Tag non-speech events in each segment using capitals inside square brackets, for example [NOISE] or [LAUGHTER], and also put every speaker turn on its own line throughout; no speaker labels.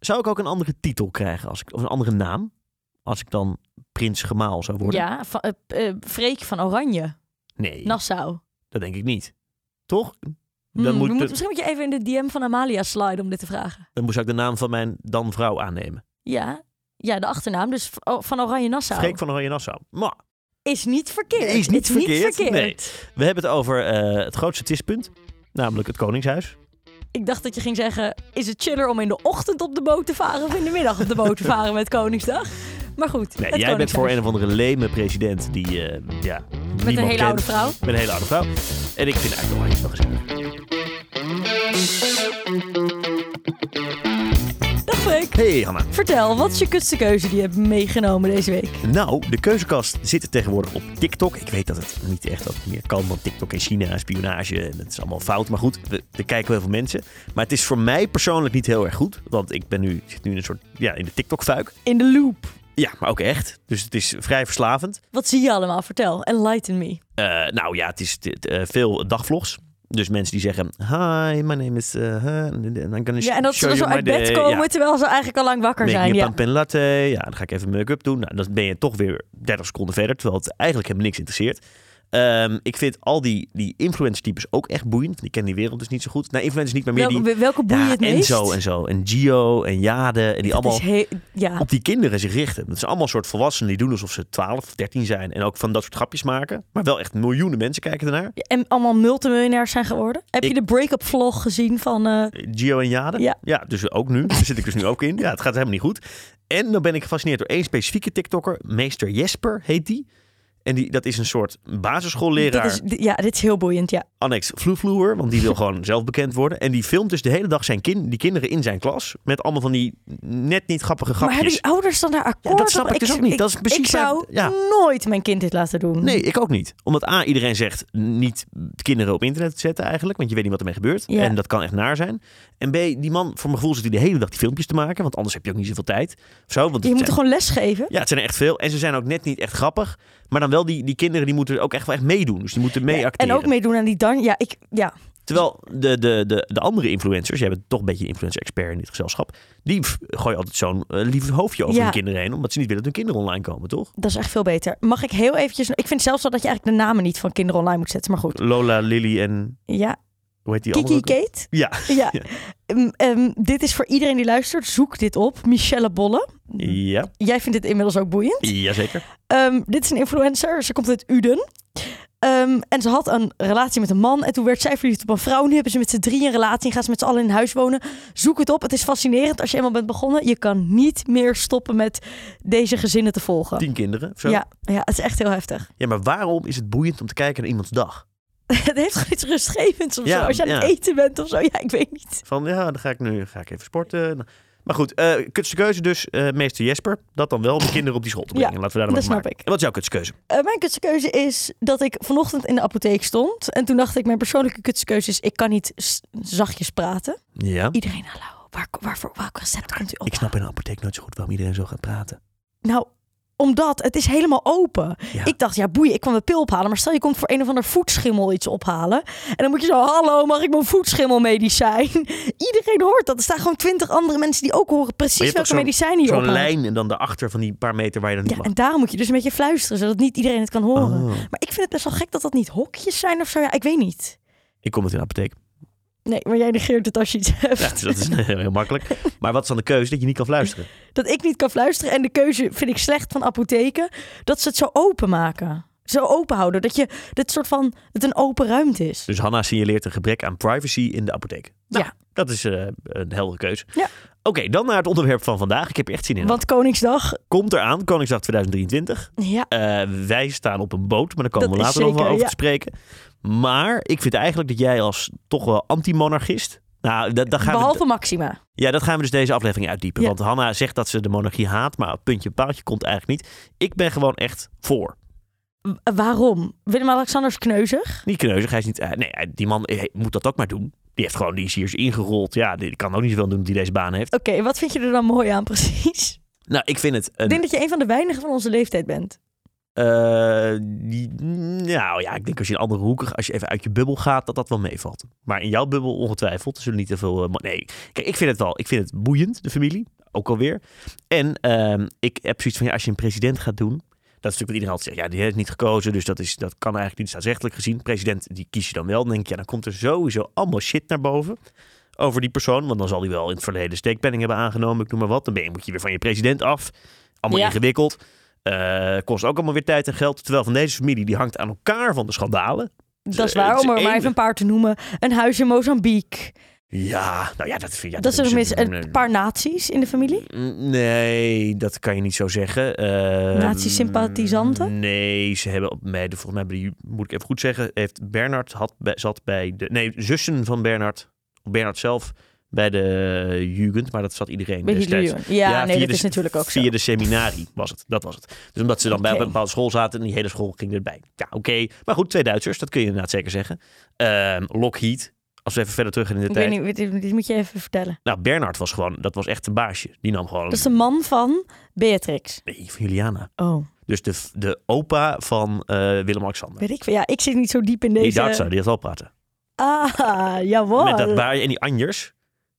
Zou ik ook een andere titel krijgen, als ik, of een andere naam? Als ik dan prins Gemaal zou worden?
Ja, van, eh, eh, Freek van Oranje,
Nee,
Nassau.
dat denk ik niet. Toch?
Hmm,
Dan,
we
moet,
moeten-
dan,
misschien moet je even in de DM van Amalia sliden om dit te vragen.
dan moest ik de naam van mijn dan vrouw aannemen.
Ja, ja de achternaam, dus v- oh, van Oranje Nassau.
Freek van Oranje Nassau. Maar
Is niet verkeerd.
Is niet
Het is
verkeerd,
Niet verkeerd.
we hebben het over eh, het grootste twistpunt. Namelijk het Koningshuis.
Ik dacht dat je ging zeggen, is het chiller om in de ochtend op de boot te varen of in de middag op de
[LAUGHS]
boot te varen met Koningsdag? Maar goed,
Nee,
het
jij bent
Koningshuis.
voor een of andere leme president die eh, ja, Met
een hele oude vrouw.
Met een hele oude vrouw. En ik vind eigenlijk wel iets wel gezellig.
Dag Freek.
Hey Hanna.
Vertel, wat is je kutste keuze die je hebt meegenomen deze week?
Nou, de keuzekast zit tegenwoordig op TikTok. Ik weet dat het niet echt ook meer kan, want TikTok in China, spionage, en dat is allemaal fout. Maar goed, we, er kijken heel veel mensen. Maar het is voor mij persoonlijk niet heel erg goed, want ik ben nu, zit nu in een soort, ja, in de TikTok-fuik.
In de loop.
Ja, maar ook echt. Dus het is vrij verslavend.
Wat zie je allemaal? Vertel, enlighten me.
Eh, nou ja, het is dit, eh, veel dagvlogs. Dus mensen die zeggen, hi, my name is... eh, huh, and I'm gonna
Ja, en dat ze
show
dan zo
you my
uit bed
day.
komen
Ja.
terwijl ze eigenlijk al lang wakker
Making
zijn.
a
Ja.
pumpkin latte. Ja, dan ga ik even make-up doen. Nou, dan ben je toch weer 30 seconden verder, terwijl het eigenlijk helemaal niks interesseert. Ehm, ik vind al die, die influencer-types ook echt boeiend. want Ik ken die wereld dus niet zo goed. Nou, influencers niet, maar meer
Welke,
die...
welke boeien
ja,
het meest?
Enzo en zo. En Gio en Jade. En die
Dat
allemaal
is heel- ja.
op die kinderen zich richten. Dat zijn allemaal soort volwassenen die doen alsof ze 12 of 13 zijn. En ook van dat soort grapjes maken. Maar wel echt miljoenen mensen kijken ernaar.
En allemaal multimiljonairs zijn geworden. Heb
Ik-
je de break-up vlog gezien van... eh,
Gio en Jade.
Ja.
dus ook nu. Daar zit ik dus nu ook in. Ja, het gaat helemaal niet goed. En dan ben ik gefascineerd door één specifieke TikToker. Meester Jesper heet die. En die, dat is een soort basisschoolleraar.
dit is, di- ja, dit is heel boeiend, ja.
Annex Vloevloer, want die wil gewoon [LAUGHS] zelf bekend worden. En die filmt dus de hele dag zijn kin, die kinderen in zijn klas. Met allemaal van die net niet grappige
Maar hebben
grapjes.
die ouders dan daar akkoord
Ja, dat snap
op?
ik dus ook niet. Dat is precies
ik zou
waar- ja.
nooit mijn kind dit laten doen.
Nee, ik ook niet. Omdat A, iedereen zegt niet kinderen op internet zetten eigenlijk. Want je weet niet wat ermee gebeurt.
Ja.
En dat kan echt naar zijn. En B, die man, voor mijn gevoel zit hij de hele dag die filmpjes te maken. Want anders heb je ook niet zoveel tijd. Of zo, want het
Je moet
zijn-
er gewoon les geven.
Ja, het zijn er echt veel. En ze zijn ook net niet echt grappig. Maar dan wel die, die kinderen die moeten ook echt wel echt meedoen. Dus die moeten mee
en
acteren.
ook meedoen aan die dan. Ja, ik, ja.
Terwijl de, de, de, de andere influencers, jij bent toch een beetje een influencer-expert in dit gezelschap. Die pff, gooien altijd zo'n eh, lief hoofdje over
Ja.
hun kinderen heen. Omdat ze niet willen dat hun kinderen online komen, toch?
Dat is echt veel beter. Mag ik heel eventjes... Ik vind zelfs wel dat je eigenlijk de namen niet van kinderen online moet zetten. Maar goed.
Lola, Lily en
Ja,
hoe heet die
Kiki
andere?
Kate.
[LAUGHS] Ja.
Ja. Ehm, ehm, dit is voor iedereen die luistert. Zoek dit op. Michelle Bolle.
Ja,
Jij vindt dit inmiddels ook boeiend.
jazeker.
Ehm, dit is een influencer. Ze komt uit Uden. Ehm, en ze had een relatie met een man. En toen werd zij verliefd op een vrouw. Nu hebben ze met z'n drieën een relatie. En gaan ze met z'n allen in huis wonen. Zoek het op. Het is fascinerend. Als je eenmaal bent begonnen, je kan niet meer stoppen met deze gezinnen te volgen.
Tien kinderen of zo. Ja.
Ja, ja, het is echt heel heftig. [LAUGHS]
maar waarom is het boeiend om te kijken naar iemands dag?
Het heeft gewoon iets rustgevends of
Ja,
zo. Als je aan
ja.
het eten bent of zo. Ja, ik weet niet.
Van ja, dan ga ik nu ga ik even sporten. Maar goed, eh kutste keuze dus, eh, meester Jesper. Dat dan wel, de kinderen op die school te
Ja,
brengen. Laten we daar
dat
wat
snap
maken.
ik.
En wat is jouw kutste keuze?
Eh, mijn kutste keuze is dat ik vanochtend in de apotheek stond. En toen dacht ik, mijn persoonlijke kutste keuze is... ik kan niet s- zachtjes praten.
Ja.
Iedereen, hallo, waar, waarvoor, welk recept komt u op?
Ik snap in de apotheek nooit zo goed waarom iedereen zo gaat praten.
Nou, omdat het is helemaal open.
Ja.
Ik dacht, ja boeien, ik kwam de pil ophalen. Maar stel je komt voor een of ander voetschimmel iets ophalen. En dan moet je zo, hallo, mag ik mijn voetschimmelmedicijn? [LAUGHS] Iedereen hoort dat. Er staan gewoon twintig andere mensen die ook horen
Maar
precies
je hebt
welke
toch
medicijnen je
Zo'n
ophaalt.
lijn en dan daarachter van die paar meter waar je dan niet
Ja, en daarom moet je dus een beetje fluisteren, zodat niet iedereen het kan
mag.
horen.
Oh.
Maar ik vind het best wel gek dat dat niet hokjes zijn of zo. Ja, ik weet niet.
Ik kom het in de apotheek.
Nee, maar jij negeert het als je iets hebt.
Ja, [LAUGHS] dus
[LAUGHS]
dat is heel makkelijk. Maar wat is dan de keuze dat je niet kan fluisteren?
dat ik niet kan fluisteren. En de keuze vind ik slecht van apotheken. Dat ze het zo open maken. Zo open houden. Dat je dit soort van het een open ruimte is.
Dus Hanna signaleert een gebrek aan privacy in de apotheek. Nou,
Ja.
Dat is eh, een heldere keuze.
Ja.
Oké, dan naar het onderwerp van vandaag. Ik heb er echt zin in.
Want Koningsdag,
komt eraan, Koningsdag 2023.
ja,
Eh, wij staan op een boot, maar daar komen
Dat
we
is
later nog wel
zeker,
over
ja.
te spreken. Maar ik vind eigenlijk dat jij als toch wel anti-monarchist... Nou, dat, dat gaan we-
behalve Maxima.
Ja, dat gaan we dus deze aflevering uitdiepen.
Ja.
Want Hanna zegt dat ze de monarchie haat, maar op puntje paaltje komt eigenlijk niet. Ik ben gewoon echt voor.
W- Waarom? Willem-Alexander is kneuzig.
Niet kneuzig, hij is niet... eh, nee, hij- die man eh, moet dat ook maar doen. Die heeft gewoon, die is hier eens ingerold. Ja, die kan ook niet zoveel doen die deze baan heeft.
Oké, wat vind je er dan mooi aan precies?
Nou, ik vind het
Ik
een...
denk dat je een van de weinigen van onze leeftijd bent.
eh, die- nou ja, ik denk als je in andere hoeken, als je even uit je bubbel gaat, dat dat wel meevalt. Maar in jouw bubbel ongetwijfeld zullen niet te veel... eh, mo- nee, kijk, ik vind het wel, ik vind het boeiend, de familie. ook alweer. En ehm, ik heb zoiets van, ja, als je een president gaat doen... Dat is natuurlijk wat iedereen altijd zegt. Ja, die heeft niet gekozen, dus dat, is, dat kan eigenlijk niet staatsrechtelijk gezien. President, die kies je dan wel. Dan denk je, ja, dan komt er sowieso allemaal shit naar boven over die persoon. Want dan zal hij wel in het verleden steekpenning hebben aangenomen, ik noem maar wat. Dan ben je, moet je weer van je president af. Allemaal
Ja.
ingewikkeld. Eh, kost ook allemaal weer tijd en geld. Terwijl van deze familie, die hangt aan elkaar van de schandalen.
Dat is
eh, het
waar,
is
om er maar
enig.
even een paar te noemen. Een huis in Mozambique.
Ja, nou ja, dat vind je...
dat zijn tenminste een paar naties in de familie.
Nee, dat kan je niet zo zeggen. Eh,
Nazi-sympathisanten?
Nee, ze hebben op mij, volgens mij, hebben die, moet ik even goed zeggen, heeft Bernard had, bij- zat bij de. Nee, zussen van Bernard, Bernard zelf, bij de Jugend, maar dat zat iedereen.
Bij
destijds.
Hitler. Ja, nee,
via
dat
de-
is natuurlijk ook zo.
Via de seminarie was het. Dat was het. Dus omdat ze dan bij
Oké.
een bepaalde school zaten en die hele school ging erbij. Ja, oké. Maar goed, twee Duitsers, dat kun je inderdaad zeker zeggen. Ehm, Lockheed, als we even verder terug gaan in de
Ik
tijd.
weet niet, dit- dit moet je even vertellen.
Nou, Bernard was gewoon, dat was echt een baasje. Die nam gewoon.
Dat is de man van Beatrix.
Nee, van Juliana.
Oh,
Dus de, de opa van eh, Willem-Alexander.
weet ik veel. Ja, ik zit niet zo diep in deze...
Die Duitser, die had wel praten.
Ah, jawel.
Met dat baarje en die anjers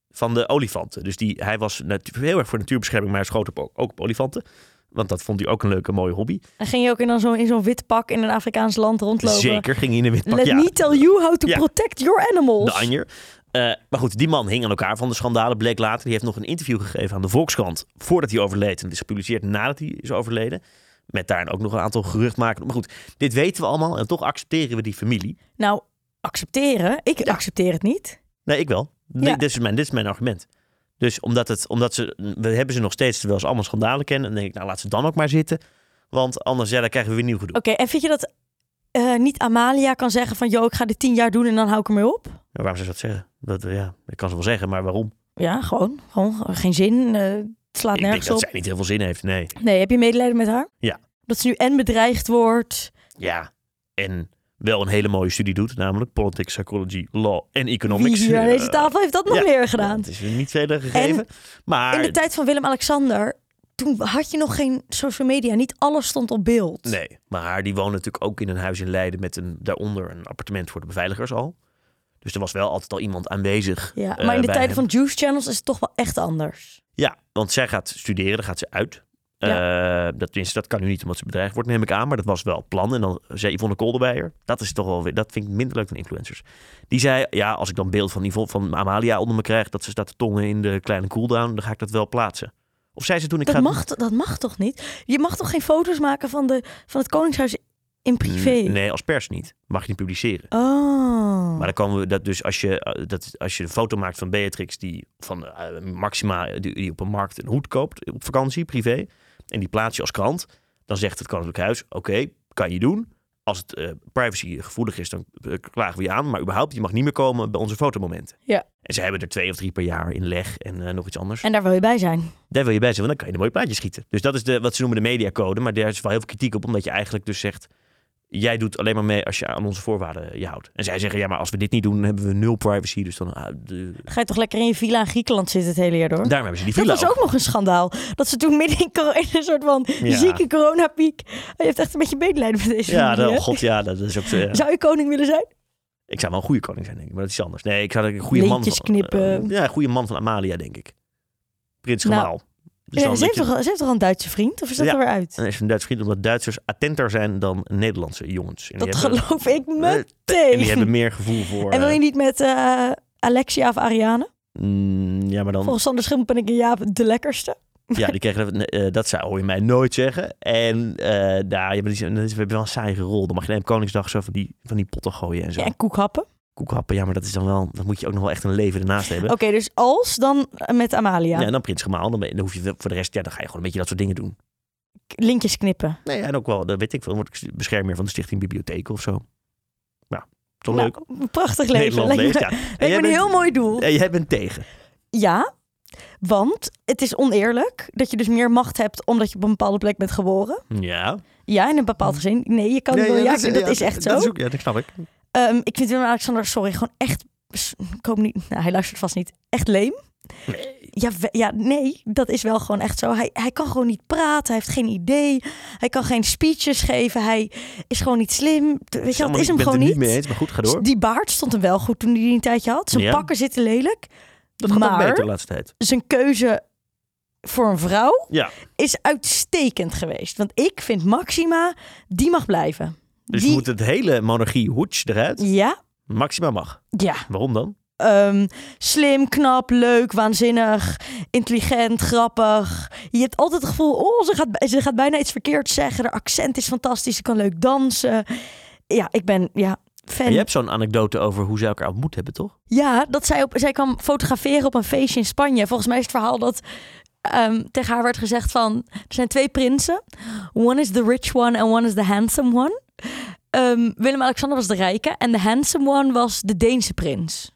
van de olifanten. Dus die, hij was natu- heel erg voor natuurbescherming, maar hij schoot op, ook op olifanten. Want dat vond hij ook een leuke, mooie hobby.
En ging je ook in dan zo- in zo'n wit pak in een Afrikaans land rondlopen?
Zeker ging hij in een wit pak.
Let
ja.
me tell you how to
Ja.
protect your animals.
De Anjer. Eh, maar goed, die man hing aan elkaar van de schandalen, bleek later. Die heeft nog een interview gegeven aan de Volkskrant voordat hij overleed. En het is gepubliceerd nadat hij is overleden. Met daarin ook nog een aantal geruchtmakers. Maar goed, dit weten we allemaal en toch accepteren we die familie.
Nou, accepteren. Ik accepteer het niet.
Nee, ik wel. Nee,
Ja.
dit, is mijn, dit is mijn argument. Dus omdat, het, omdat ze, we hebben ze nog steeds, terwijl ze allemaal schandalen kennen. Dan denk ik, nou laat ze dan ook maar zitten. Want anders, ja, dan krijgen we weer nieuw gedoe.
Oké, en vind je dat eh, niet Amalia kan zeggen van... joh, ik ga dit tien jaar doen en dan hou ik ermee op?
Ja, Nou, waarom zou ze dat zeggen? Dat, eh, ja, ik kan ze wel zeggen, maar waarom?
Ja, gewoon. Gewoon, geen zin. eh, het slaat
Ik denk
nergens
dat
op.
zij niet heel veel zin heeft, nee.
Nee, heb je medelijden met haar?
Ja.
Dat ze nu en bedreigd wordt.
Ja, en wel een hele mooie studie doet, namelijk Politics, Psychology, Law en
Wie
Economics.
hier aan
Eh,
deze tafel heeft dat nog
ja.
meer
ja,
gedaan?
Het is weer niet verder gegeven. maar
In de tijd van Willem-Alexander... toen had je nog geen social media. Niet alles stond op beeld.
nee, maar die woonde natuurlijk ook in een huis in Leiden met een, daaronder een appartement voor de beveiligers al. Dus er was wel altijd al iemand aanwezig.
Ja,
eh,
maar in de
bij
tijden
hem.
van juice channels is het toch wel echt anders.
Ja, want zij gaat studeren, daar gaat ze uit. Eh, dat, tenminste, dat kan nu niet omdat ze bedreigd wordt, neem ik aan. Maar dat was wel het plan. En dan zei Yvonne Kolderbeyer, dat, is toch wel weer, dat vind ik minder leuk van influencers. Die zei, ja, als ik dan beeld van, Yvonne, van Amalia onder me krijg... dat ze staat te tongen in de kleine cooldown, dan ga ik dat wel plaatsen. Of zei ze toen, ik
Dat
ga...
mag, t- dat mag toch niet? Je mag toch geen foto's maken van, de, van het Koningshuis in privé?
N- Nee, als pers niet. Mag je niet publiceren.
Oh.
Maar dan komen we dat dus als je, eh, dat, als je een foto maakt van Beatrix die van eh, Maxima die, die op een markt een hoed koopt op vakantie, privé. En die plaats je als krant. Dan zegt het Koninklijk Huis, oké, kan je doen. Als het eh, privacy gevoelig is, dan eh, klagen we je aan. Maar überhaupt, je mag niet meer komen bij onze fotomomenten.
Ja.
En ze hebben er twee of drie per jaar in leg en eh, nog iets anders.
En daar wil je bij zijn.
Daar wil je bij zijn, want dan kan je een mooi plaatje schieten. Dus dat is de, wat ze noemen de mediacode. Maar daar is wel heel veel kritiek op, omdat je eigenlijk dus zegt... jij doet alleen maar mee als je aan onze voorwaarden eh, je houdt. En zij zeggen, ja, maar als we dit niet doen, dan hebben we nul privacy. Dus dan... ah, de-
Dan ga je toch lekker in je villa in Griekenland zitten het hele jaar door?
Daarom hebben ze die
dat
villa
was ook nog een schandaal. Dat ze toen midden in, coro- in een soort van
Ja.
zieke coronapiek... Je hebt echt een beetje medelijden met deze
Ja,
familie,
dat,
hè?
god, ja, dat is ook... zo, ja.
[LAUGHS] Zou je koning willen zijn?
Ik zou wel een goede koning zijn, denk ik. Maar dat is iets anders. Nee, ik zou een goede man...
Lintjes
Van,
knippen.
eh, ja, een goede man van Amalia, denk ik. Prins
Nou,
Gemaal. Dus
Ja,
dan
ze,
dat
heeft
je-
toch, al- ze heeft toch al een Duitse vriend? Of is dat
Ja.
er weer uit?
dan is een Duits vriend, omdat Duitsers attenter zijn dan Nederlandse jongens. En die
Dat
hebben-
geloof ik
eh,
meteen.
En die hebben meer gevoel voor...
En wil je
eh,
niet met eh, Alexia of Ariane?
mm, ja, maar dan...
Volgens Sander Schimp ben ik in Jaap de lekkerste.
Ja, die kregen dat, eh, dat zou hoor je mij nooit zeggen. En eh daar hebben die, dat is- we hebben wel een saaie rol. Dan mag je alleen op Koningsdag zo van die, van die potten gooien en zo.
Ja, en koekhappen.
Koekhappen, ja, maar dat is dan wel, dan moet je ook nog wel echt een leven ernaast hebben.
Oké, dus als, dan eh, met Amalia.
Ja. en dan Prins Gemaal, dan, ben- dan hoef je wel- voor de rest, ja, dan ga je gewoon een beetje dat soort dingen doen.
K- Lintjes knippen.
Nee, en ook wel, dat weet ik veel, dan word ik beschermheer van de Stichting Bibliotheek of zo. Nou, toch
Nou,
leuk.
een Prachtig leven.
Nederland leest,
Lijkt me,
ja. En
lijkt me
jij
een
bent- Eh.
heel mooi doel.
en jij bent tegen.
Ja, want het is oneerlijk dat je dus meer macht hebt omdat je op een bepaalde plek bent geboren.
Ja.
Ja, in een bepaald
Mm.
gezin. Nee, je kan wel ja, dat, dat is echt zo.
ja, dat snap ik.
Ehm, ik vind Willem-Alexander, sorry, gewoon echt... s- Ik hoop niet... Nou, hij luistert vast niet. Echt leem. Ja, we- ja, nee, dat is wel gewoon echt zo. Hij, hij kan gewoon niet praten, hij heeft geen idee. Hij kan geen speeches geven, hij is gewoon niet slim. T- Weet je, dat is
ik ben
hem
het
gewoon
er
niet.
niet mee eens, maar goed, ga door.
Die baard stond hem wel goed toen hij die een tijdje had. Zijn
Ja.
pakken zitten lelijk.
Dat gaat ook
maar
beter de laatste tijd.
zijn keuze voor een vrouw
Ja,
is uitstekend geweest. Want ik vind Maxima, die mag blijven.
dus
die,
we moeten het hele monarchie hoedje eruit.
Ja,
Maxima mag.
ja.
Waarom dan?
Ehm, slim, knap, leuk, waanzinnig, intelligent, grappig. Je hebt altijd het gevoel, oh, ze gaat, ze gaat bijna iets verkeerds zeggen. Haar accent is fantastisch, ze kan leuk dansen. Ja, ik ben ja, fan.
Maar je hebt zo'n anekdote over hoe zij elkaar ontmoet hebben, toch?
Ja, dat zij, op, zij kwam fotograferen op een feestje in Spanje. Volgens mij is het verhaal dat ehm, tegen haar werd gezegd van... Er zijn twee prinsen. One is the rich one and one is the handsome one. Ehm, Willem-Alexander was de rijke en de handsome one was de Deense prins.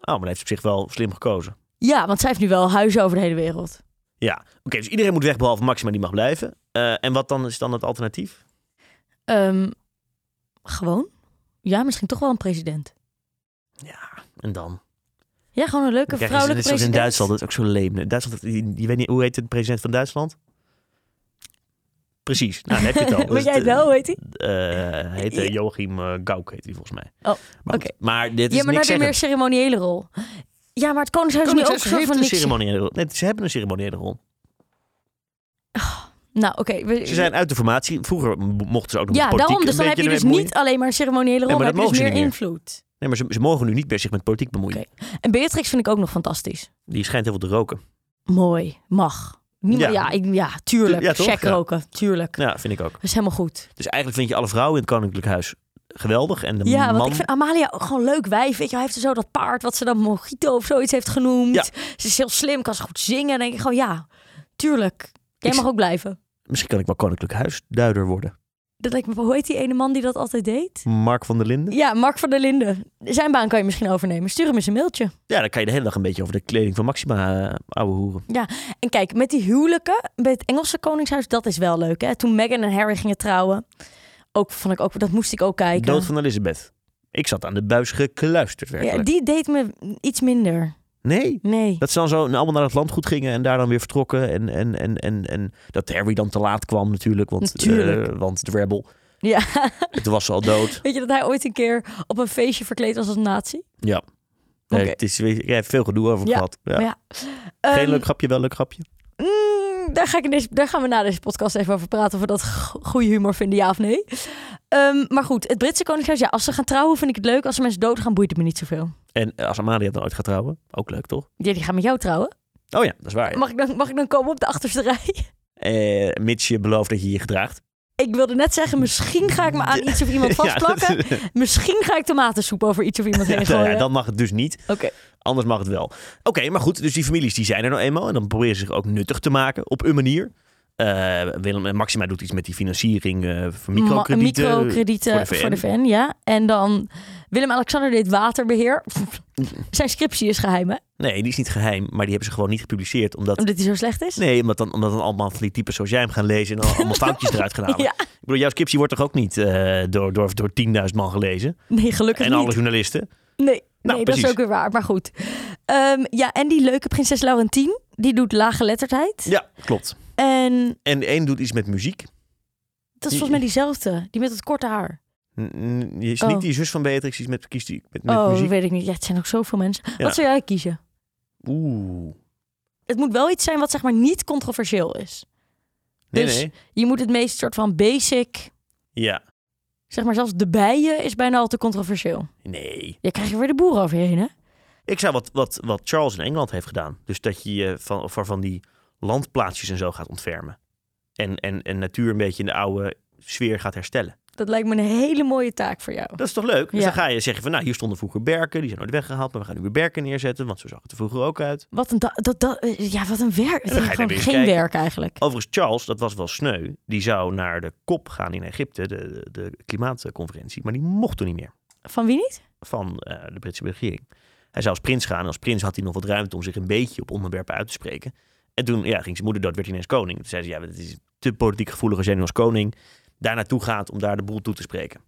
Oh, maar dan heeft ze op zich wel slim gekozen.
Ja, want zij heeft nu wel huizen over de hele wereld.
Ja, oké, dus iedereen moet weg behalve Maxima, die mag blijven. Eh, en wat dan is dan het alternatief?
Ehm, gewoon? Ja, misschien toch wel een president.
Ja, en dan?
Ja, gewoon een leuke
Kijk,
vrouwelijke
net zoals
president.
in Duitsland, dat is ook zo leem. In Duitsland, je, je weet niet, hoe heet het president van Duitsland? Precies, nou, dan heb je
[LAUGHS]
het al.
Weet jij het wel, hoe heet hij?
eh heet eh,
Ja.
Joachim eh, Gauck, heet hij volgens mij.
Oh,
Maar goed,
oké.
Maar dit is
Ja, maar nou
niks
heb je meer
zeggen.
ceremoniële rol. Ja, maar het koningshuis is nu ook zo van
een
niks.
ceremoniële rol. Nee, ze hebben een ceremoniële rol.
Nou, oké. we-
Ze zijn uit de formatie. Vroeger mo- mochten ze ook nog
Ja,
met politiek
daarom. Dus
een
dan heb je
beetje
dus
ermee
niet alleen maar een ceremoniële rol,
Nee, maar
maar,
dat
heb je dus
mogen
meer
ze niet
invloed.
bemoeien. Nee, maar ze, ze mogen nu niet meer zich met politiek bemoeien.
Oké. En Beatrix vind ik ook nog fantastisch.
Die schijnt heel veel te roken.
Mooi. Mag. Niemand,
Ja.
ja. ik, ja, tuurlijk.
Ja,
Ja,
toch?
Check
Ja.
roken. Tuurlijk.
Ja, vind ik ook.
Dat is helemaal goed.
Dus eigenlijk vind je alle vrouwen in het koninklijk huis geweldig. En de
ja,
man...
want ik vind Amalia ook gewoon leuk wijf. Weet je, hij heeft zo dat paard wat ze dan Mojito of zoiets heeft genoemd.
Ja.
Ze is heel slim, kan ze goed zingen. En denk ik gewoon, ja, tuurlijk. Jij
Ik-
mag ook blijven.
Misschien kan ik wel koninklijk huisduider worden.
Dat lijkt me, hoe heet die ene man die dat altijd deed?
Mark van der Linden.
Ja, Mark van der Linden. Zijn baan kan je misschien overnemen. Stuur hem eens een mailtje.
Ja, dan kan je de hele dag een beetje over de kleding van Maxima eh ouwe hoeren.
En kijk, met die huwelijken bij het Engelse koningshuis, dat is wel leuk. Hè? Toen Meghan en Harry gingen trouwen, ook, vond ik ook, dat moest ik ook kijken.
Dood van Elisabeth. Ik zat aan de buis gekluisterd
ja,
werkelijk.
die deed me iets minder.
Nee,
Nee.
Dat ze dan zo nou allemaal naar het landgoed gingen en daar dan weer vertrokken. En, en, en, en, en dat Harry dan te laat kwam natuurlijk, want,
Natuurlijk.
eh, want de rebel,
Ja.
toen was ze al dood.
[LAUGHS] Weet je dat hij ooit een keer op een feestje verkleed was als nazi?
Ja. Nee,
Oké.
het is, je hebt veel gedoe over
Ja,
gehad. Ja.
maar ja.
Geen
Ehm,
leuk grapje, wel leuk grapje.
Mm, daar, ga ik in deze, daar gaan we na deze podcast even over praten. Of we dat go- goede humor vinden, ja of nee. Ehm, maar goed, het Britse Koningshuis. Ja, als ze gaan trouwen vind ik het leuk. Als er mensen doodgaan, boeit het me niet zoveel.
En eh, als Amalia dan ooit gaat trouwen, ook leuk toch?
Ja, die gaan met jou trouwen.
Oh ja, dat is waar. ja.
Mag ik dan, mag ik dan komen op de achterste [LAUGHS] rij?
Eh, mits je belooft dat je je gedraagt.
Ik wilde net zeggen, misschien ga ik me aan iets of iemand
[LAUGHS]
vastplakken.
Ja, dat-
Misschien ga ik tomatensoep over iets of iemand heen
nou [LAUGHS]
gooien.
ja, dan mag het dus niet.
Oké.
Anders mag het wel. Oké, maar goed, dus die families die zijn er nou eenmaal. En dan proberen ze zich ook nuttig te maken op een manier. Eh, Willem en Maxima doet iets met die financiering eh voor
Ma-
microkredieten.
microkredieten
voor de VN.
voor de VN, ja. En dan Willem-Alexander deed waterbeheer. [LAUGHS] Zijn scriptie is geheim, hè?
Nee, die is niet geheim, maar die hebben ze gewoon niet gepubliceerd. Omdat,
Omdat hij zo slecht is.
nee, omdat dan, omdat dan allemaal van die types zoals jij hem gaan lezen en dan
[LAUGHS]
allemaal foutjes eruit gaan halen.
Ja.
Ik bedoel, jouw scriptie wordt toch ook niet eh, door, door, door 10.000 man gelezen?
Nee, gelukkig
en
niet.
alle journalisten?
Nee,
Nou,
nee dat
precies.
is ook weer waar. Maar goed. Ehm, ja, en die leuke prinses Laurentien, die doet laaggeletterdheid.
Ja, klopt.
En
En de een doet iets met muziek.
dat is volgens mij diezelfde, die met het korte haar.
N- n- Is
Oh.
niet die zus van Beatrix, die is met, kiest die met, met
oh,
muziek.
weet ik niet. Ja, het zijn ook zoveel mensen.
Ja.
Wat zou jij kiezen?
Oeh.
Het moet wel iets zijn wat zeg maar niet controversieel is.
Nee,
Dus-
nee.
Je moet het meest soort van basic,
Ja.
zeg maar zelfs de bijen is bijna al te controversieel.
Nee.
Je krijgt er weer de boeren over je heen, hè?
Ik zou wat, wat, wat Charles in Engeland heeft gedaan. Dus dat je je van, van, van die landplaatsjes en zo gaat ontfermen. En, en, en natuur een beetje in de oude sfeer gaat herstellen.
Dat lijkt me een hele mooie taak voor jou.
Dat is toch leuk? Dus
Ja.
dan ga je zeggen van, nou, hier stonden vroeger berken. Die zijn nooit weggehaald, maar we gaan nu weer berken neerzetten. Want zo zag het er vroeger ook uit.
Wat een, da- dat, dat, eh, ja, wat een werk. Het
dan
is
ga je
gewoon
daar weer
geen
kijken.
werk eigenlijk.
Overigens, Charles, dat was wel sneu. Die zou naar de kop gaan in Egypte, de, de, de klimaatconferentie. Maar die mocht toen niet meer
Van wie niet?
van eh, de Britse regering. Hij zou als prins gaan. En als prins had hij nog wat ruimte om zich een beetje op onderwerpen uit te spreken. En toen ja, ging zijn moeder dood, werd hij ineens koning. Toen zei ze, ja, het is te politiek gevoelig als jij nu als koning daar naartoe gaat om daar de boel toe te spreken.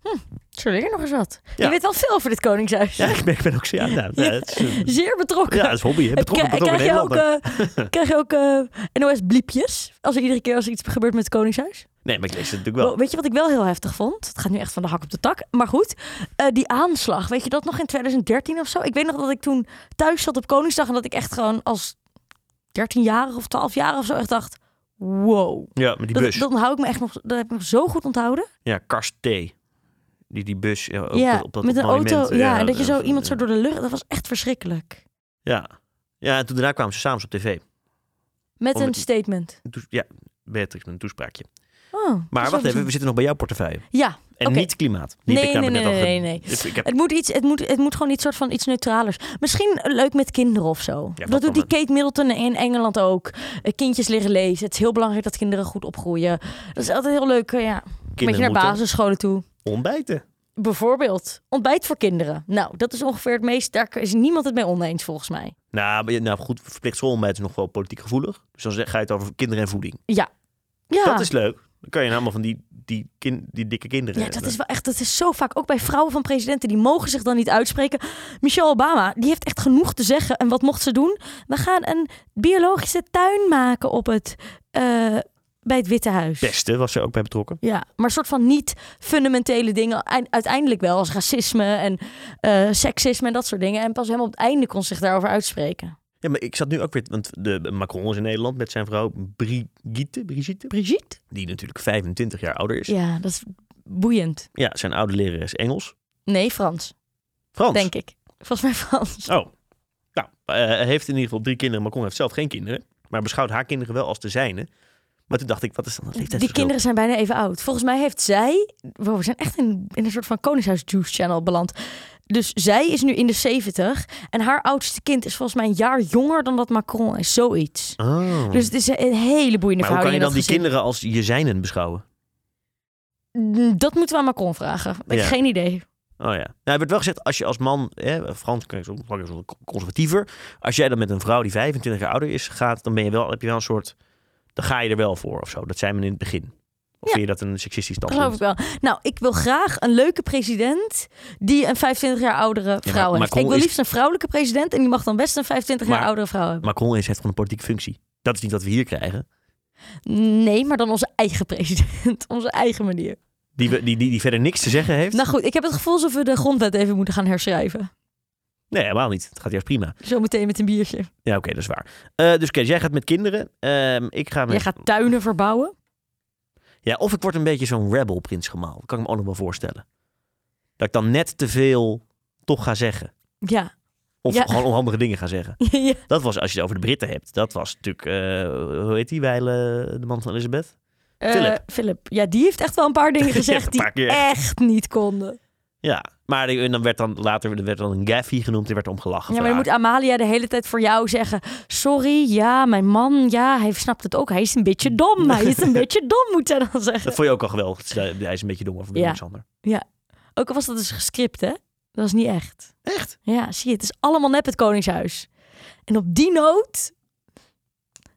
Zullen we er nog eens wat?
Ja.
Je weet wel veel over dit koningshuis.
Ja, ik ben, ik ben ook zo, ja, nou,
Ja.
het is, eh,
Zeer betrokken.
ja, het is hobby, hè? Betrokken,
Krijg-
betrokken
krijg, je ook,
Nederlander. [LAUGHS]
eh, krijg je ook eh, NOS-bliepjes? Als er iedere keer als er iets gebeurt met het Koningshuis?
Nee, maar ik lees het natuurlijk wel.
Weet je wat ik wel heel heftig vond? Het gaat nu echt van de hak op de tak. Maar goed, eh, die aanslag. Weet je dat nog in 2013 of zo? Ik weet nog dat ik toen thuis zat op Koningsdag en dat ik echt gewoon als 13-jarige of 12-jarige of zo echt dacht... Wow.
Ja, met die
Dat,
bus.
dat onthoud ik me echt nog... Dat heb ik nog zo goed onthouden.
Ja, Karst T. Die, die bus ja, op,
ja,
dat- op dat
met een
monument,
auto. Ja, en dat je zo
eh,
iemand zo door de lucht... Dat was echt verschrikkelijk.
Ja. Ja, en toen daarna kwamen ze s'avonds op tv.
Met
Oh,
een
met-
statement.
Een toes- Ja, Beatrix met een toespraakje.
Oh, dat is wel
Maar wacht even,
bijzonder.
we zitten nog bij jouw portefeuille.
Ja,
En
Oké.
niet klimaat. Die heb
Nee,
ik
nee,
namelijk
nee,
net al
nee,
ge-
nee.
Dus ik heb-
Het moet, iets, het, moet, het moet gewoon iets soort van iets neutralers. Misschien leuk met kinderen of zo.
dat
dat doet die
kan
Kate Middleton in Engeland ook. Eh, Kindjes leren lezen. Het is heel belangrijk dat kinderen goed opgroeien. Dat is altijd heel leuk. eh, ja. Een beetje
kinderen
naar
moeten
basisscholen toe.
ontbijten.
Bijvoorbeeld ontbijt voor kinderen. Nou, dat is ongeveer het meest. Daar is niemand het mee oneens volgens mij.
Nou, maar je- nou goed, verplicht schoolontbijt is nog wel politiek gevoelig. Dus dan zeg- ga je het over kinderen en voeding.
Ja.
Dat is leuk. Dan kan je nou allemaal van die, die, kin- die dikke kinderen
Ja, dat
hebben.
is wel echt. Dat is zo vaak. Ook bij vrouwen van presidenten die mogen zich dan niet uitspreken. Michelle Obama, die heeft echt genoeg te zeggen. En wat mocht ze doen? We gaan een biologische tuin maken op het. eh, bij het Witte Huis.
Pesten was er ook bij betrokken.
Ja, maar soort van niet fundamentele dingen. Eind- Uiteindelijk wel, als racisme en eh, seksisme en dat soort dingen. En pas helemaal op het einde kon ze zich daarover uitspreken.
Ja, maar ik zat nu ook weer... Want de, Macron is in Nederland met zijn vrouw Brigitte, Brigitte.
Brigitte?
Die natuurlijk 25 jaar ouder is. Ja,
Ja, dat is boeiend.
zijn oude lerares Engels.
Nee, Frans,
Frans.
denk ik. Volgens mij Frans.
Oh. Nou, eh, heeft in ieder geval drie kinderen. Macron heeft zelf geen kinderen. Maar beschouwt haar kinderen wel als de zijne. Maar toen dacht ik, wat is dan dat
Die
leeftijdsverschil?
kinderen zijn bijna even oud. Volgens mij heeft zij... Wow, we zijn echt in, in een soort van Koningshuis Juice Channel beland. Dus zij is nu in de 70 en haar oudste kind is volgens mij een jaar jonger dan dat Macron is. Zoiets.
Oh.
Dus het is een hele boeiende
maar hoe kan
verhouding.
je
in
dan
dat
die
gezin.
kinderen als je zijnen beschouwen?
Mm, Dat moeten we aan Macron vragen. Ik heb
Ja.
geen idee.
Oh ja. Nou, er werd wel gezegd, als je als man, hè, Frans klinkt soms wel eens wat conservatiever. Als jij dan met een vrouw die 25 jaar ouder is gaat, dan ben je wel, heb je wel een soort, dan ga je er wel voor of zo. Dat zei men in het begin. Of
Ja.
vind je dat een seksistisch
Geloof ik
standpunt?
wel. Nou, ik wil graag een leuke president die een 25 jaar oudere vrouw heeft.
Macron
ik wil
is-
liefst een vrouwelijke president en die mag dan best een 25 jaar
Maar-
oudere vrouw hebben.
Macron is, heeft gewoon een politieke functie. Dat is niet wat we hier krijgen.
Nee, maar dan onze eigen president. [LAUGHS] Onze eigen manier.
Die, we- die, die, die verder niks te zeggen heeft.
Nou goed, ik heb het gevoel alsof we de grondwet even moeten gaan herschrijven.
Nee, helemaal niet. Het gaat juist prima.
Zometeen met een biertje.
Ja, oké, dat is waar. Eh, dus Kees, jij gaat met kinderen. Ehm, ik ga met...
Jij gaat tuinen verbouwen.
Ja, of ik word een beetje zo'n rebel prins gemaal. Dat kan ik me ook nog wel voorstellen. Dat ik dan net te veel toch ga zeggen.
Ja.
Of
Ja.
gewoon onhandige dingen ga zeggen.
ja.
Dat was, als je het over de Britten hebt, dat was natuurlijk, eh, hoe heet die, Weile, de man van Elizabeth? Philip.
Eh, Philip. Ja, die heeft echt wel een
[LAUGHS]
paar dingen gezegd
een
die
paar keer.
echt niet konden.
Ja, maar die- en dan werd dan later er werd dan een gaffy genoemd, er werd om gelachen.
Ja, maar
van
dan moet Amalia de hele tijd voor jou zeggen: Sorry, ja, mijn man, ja, hij snapt het ook. Hij is een beetje dom. Hij is
[LAUGHS]
een beetje dom, moet zij dan
haar. Dat
zeggen.
vond je ook al geweldig. Hij is een beetje dom over
Ja.
Willem-Alexander.
Ook al was dat dus gescript, hè? Dat is niet echt.
Echt?
Ja, zie je, het is allemaal nep het Koningshuis. En op die noot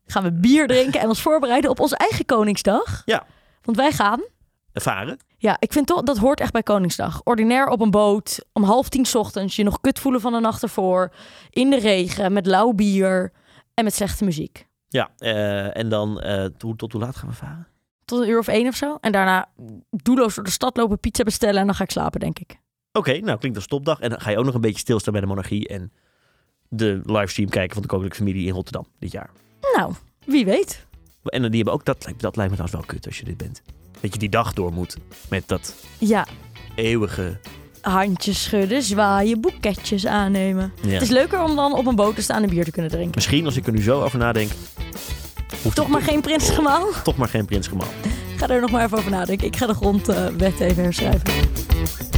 gaan we bier drinken en ons voorbereiden op onze eigen Koningsdag.
Ja.
Want wij gaan.
Varen?
Ja, ik vind toch, dat hoort echt bij Koningsdag. Ordinair op een boot, om half tien 's ochtends, je nog kut voelen van de nacht ervoor, in de regen, met lauw bier en met slechte muziek.
Ja, eh, en dan, eh, hoe- tot hoe laat gaan we varen?
tot een uur of één of zo. En daarna doelloos door de stad lopen, pizza bestellen en dan ga ik slapen, denk ik.
Oké, nou klinkt als topdag. En dan ga je ook nog een beetje stilstaan bij de monarchie en de livestream kijken van de koninklijke familie in Rotterdam dit jaar.
Nou, wie weet.
En die hebben ook, dat, lijkt- dat lijkt me trouwens wel kut als je dit bent. Dat je die dag door moet met dat
Ja,
eeuwige...
handjes schudden, zwaaien, boeketjes aannemen.
Ja.
Het is leuker om dan op een boot te staan en bier te kunnen drinken.
Misschien, als ik er nu zo over nadenk... hoeft
Toch
het
maar geen prinsgemaal?
toch maar geen prins gemaal.
Ga er nog maar even over nadenken. Ik ga de grondwet even herschrijven.